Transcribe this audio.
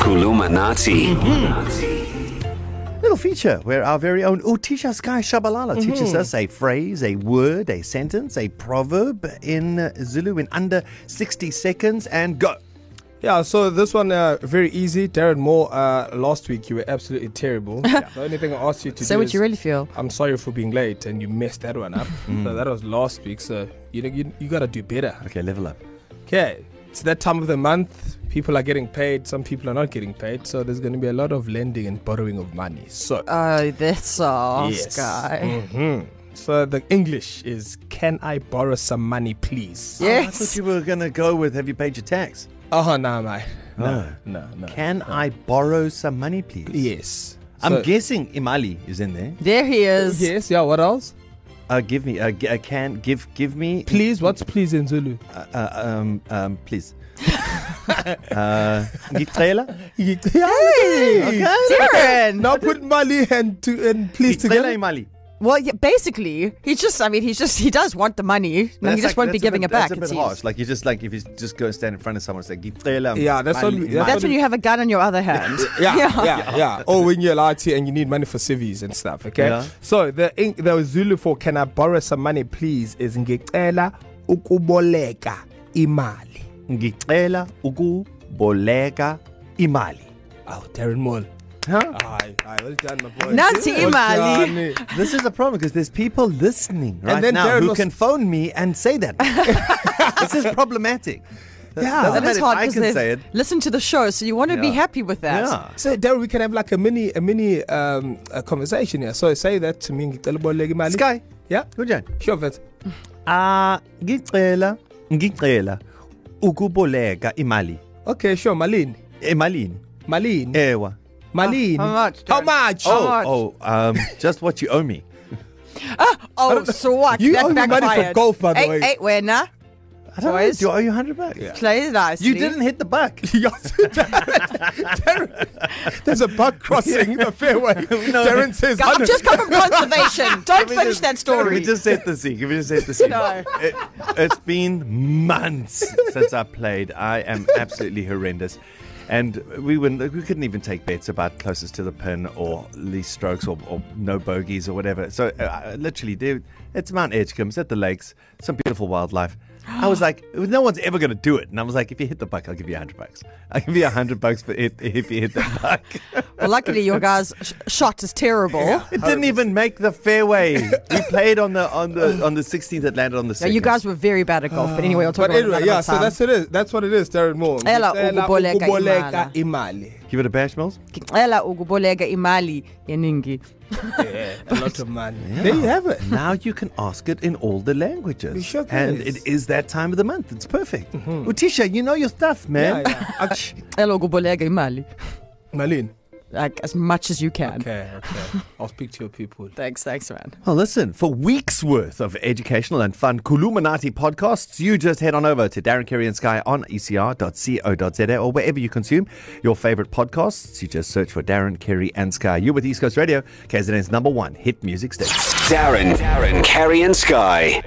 Kulumanati. Little feature where our very own Utisha Sky Shabalala teaches us a phrase, a word, a sentence, a proverb in Zulu in under 60 seconds and go. Yeah, so this one uh, very easy. Darren Moore, uh, last week you were absolutely terrible. The only thing I asked you to Say do what is, you really Mm-hmm. feel. I'm sorry for being late, and you messed that one up. So that was last week. So you know you, you gotta do better. Okay, level up. Okay, it's that time of the month. People are getting paid. Some people are not getting paid. So there's gonna be a lot of lending and borrowing of money. So Oh, this all Yes. Oh, guy. mhm. so the English is, can I borrow some money, please? I thought Yes. you were going to go with have you paid your tax? Oh no, mate. No, Oh. no, no. Can I borrow some money, please? yes. I'm So- guessing Imali is in there. There he is. Yes. Yeah. What else? Uh, give me, uh, g- uh, can, give, give me. Please. What's please in Zulu? Uh, uh, um, um, please. uh, ngicela? Hey! Darren. Now put Mali and to and please Ngicela together. imali. Well, yeah, basically, he just, I mean, he's just, he does want the money. and That's he just like- won't be that's a giving bit- it back. That's a it bit seems. harsh. Like you just like if you just go and stand in front of someone and say "Ngicela Yeah, that's what imali, we- that's imali." That's when you have a gun on your other hand. Yeah, yeah, yeah. Or when you're allowed to and you need money for civies and stuff. Okay. Yeah. So the in, the Zulu for can I borrow some money, please? Is ngicela ukuboleka imali. ngicela ukuboleka imali. Oh, Darren Moore. Huh? Aye, aye, well done, my boy. Nansi imali. done. This is the problem because there's people listening right then now Darren who was- can phone me and say that. this is problematic. Yeah. doesn't That is matter if hard I can they've say it. listened to the show, so you want to be Yeah. happy with that. Yeah. So Darren, we can have like a mini a mini um a conversation here. So say that to me ngicela ukuboleka imali. Sky, Yeah. kunjani? Sure, vet. Ah, ngicela, ngicela ukuboleka imali. Okay, sure, Malini. Emalini. Mm. Malini. Ewa. Malini. How much, How Darren? much? How much? Oh, um, just what you owe me. Oh, so what? You that owe me money for backfired. golf, by the eight, way. Eight winner. I don't Boys. know. Do I owe you 100 bucks? Play it nicely. You didn't hit the buck. Yes, Darren, Darren, there's a bug crossing the fairway. Darren says, Go- I've "Hundred." just come from conservation. Don't Can we finish just- that Can story. we just set the scene? Can we just set the scene? No. It, it's been months since I played. I am absolutely horrendous. And we wouldn't, we couldn't even take bets about closest to the pin or least strokes or, or no bogeys or whatever. So uh, literally, dude, it's Mount Edgecombe, it's at the lakes, some beautiful wildlife. I was like, no one's ever going to do it. And I was like, if you hit the buck, I'll give you a hundred bucks. I'll give you a hundred bucks for if, if you hit the buck. well, luckily, your guy's sh- shot is terrible. It didn't even make the fairway. we played on the on the on the 16th. It landed on the. Yeah, you 2nd. guys were very bad at golf, but anyway, I'll talk But about anyway, it yeah, so that's it is. That's what it is, Darren Moore. Ngicela ukuboleka ukuboleka imali. give it a bash, Mills. Ngicela ukuboleka imali yeningi. Yeah, a lot of money. There you have it. Now you can ask it in all the languages, We sure can. and it is that time of the month. It's perfect. Utisha, you know your stuff, man. Yeah, yeah. Ach- Ngicela ukuboleka imali. Malin. Like, as much as you can. Okay, okay. I'll speak to your people. Thanks, thanks, man. Well, listen, for weeks worth of educational and fun Kuluminati podcasts, you just head on over to Darren Kerry and Sky on E ecr.co.za or wherever you consume your favorite podcasts. You just search for Darren Kerry and Sky. You're with East Coast Radio, KZN's number one hit music station. Darren, Darren, Kerry and Sky.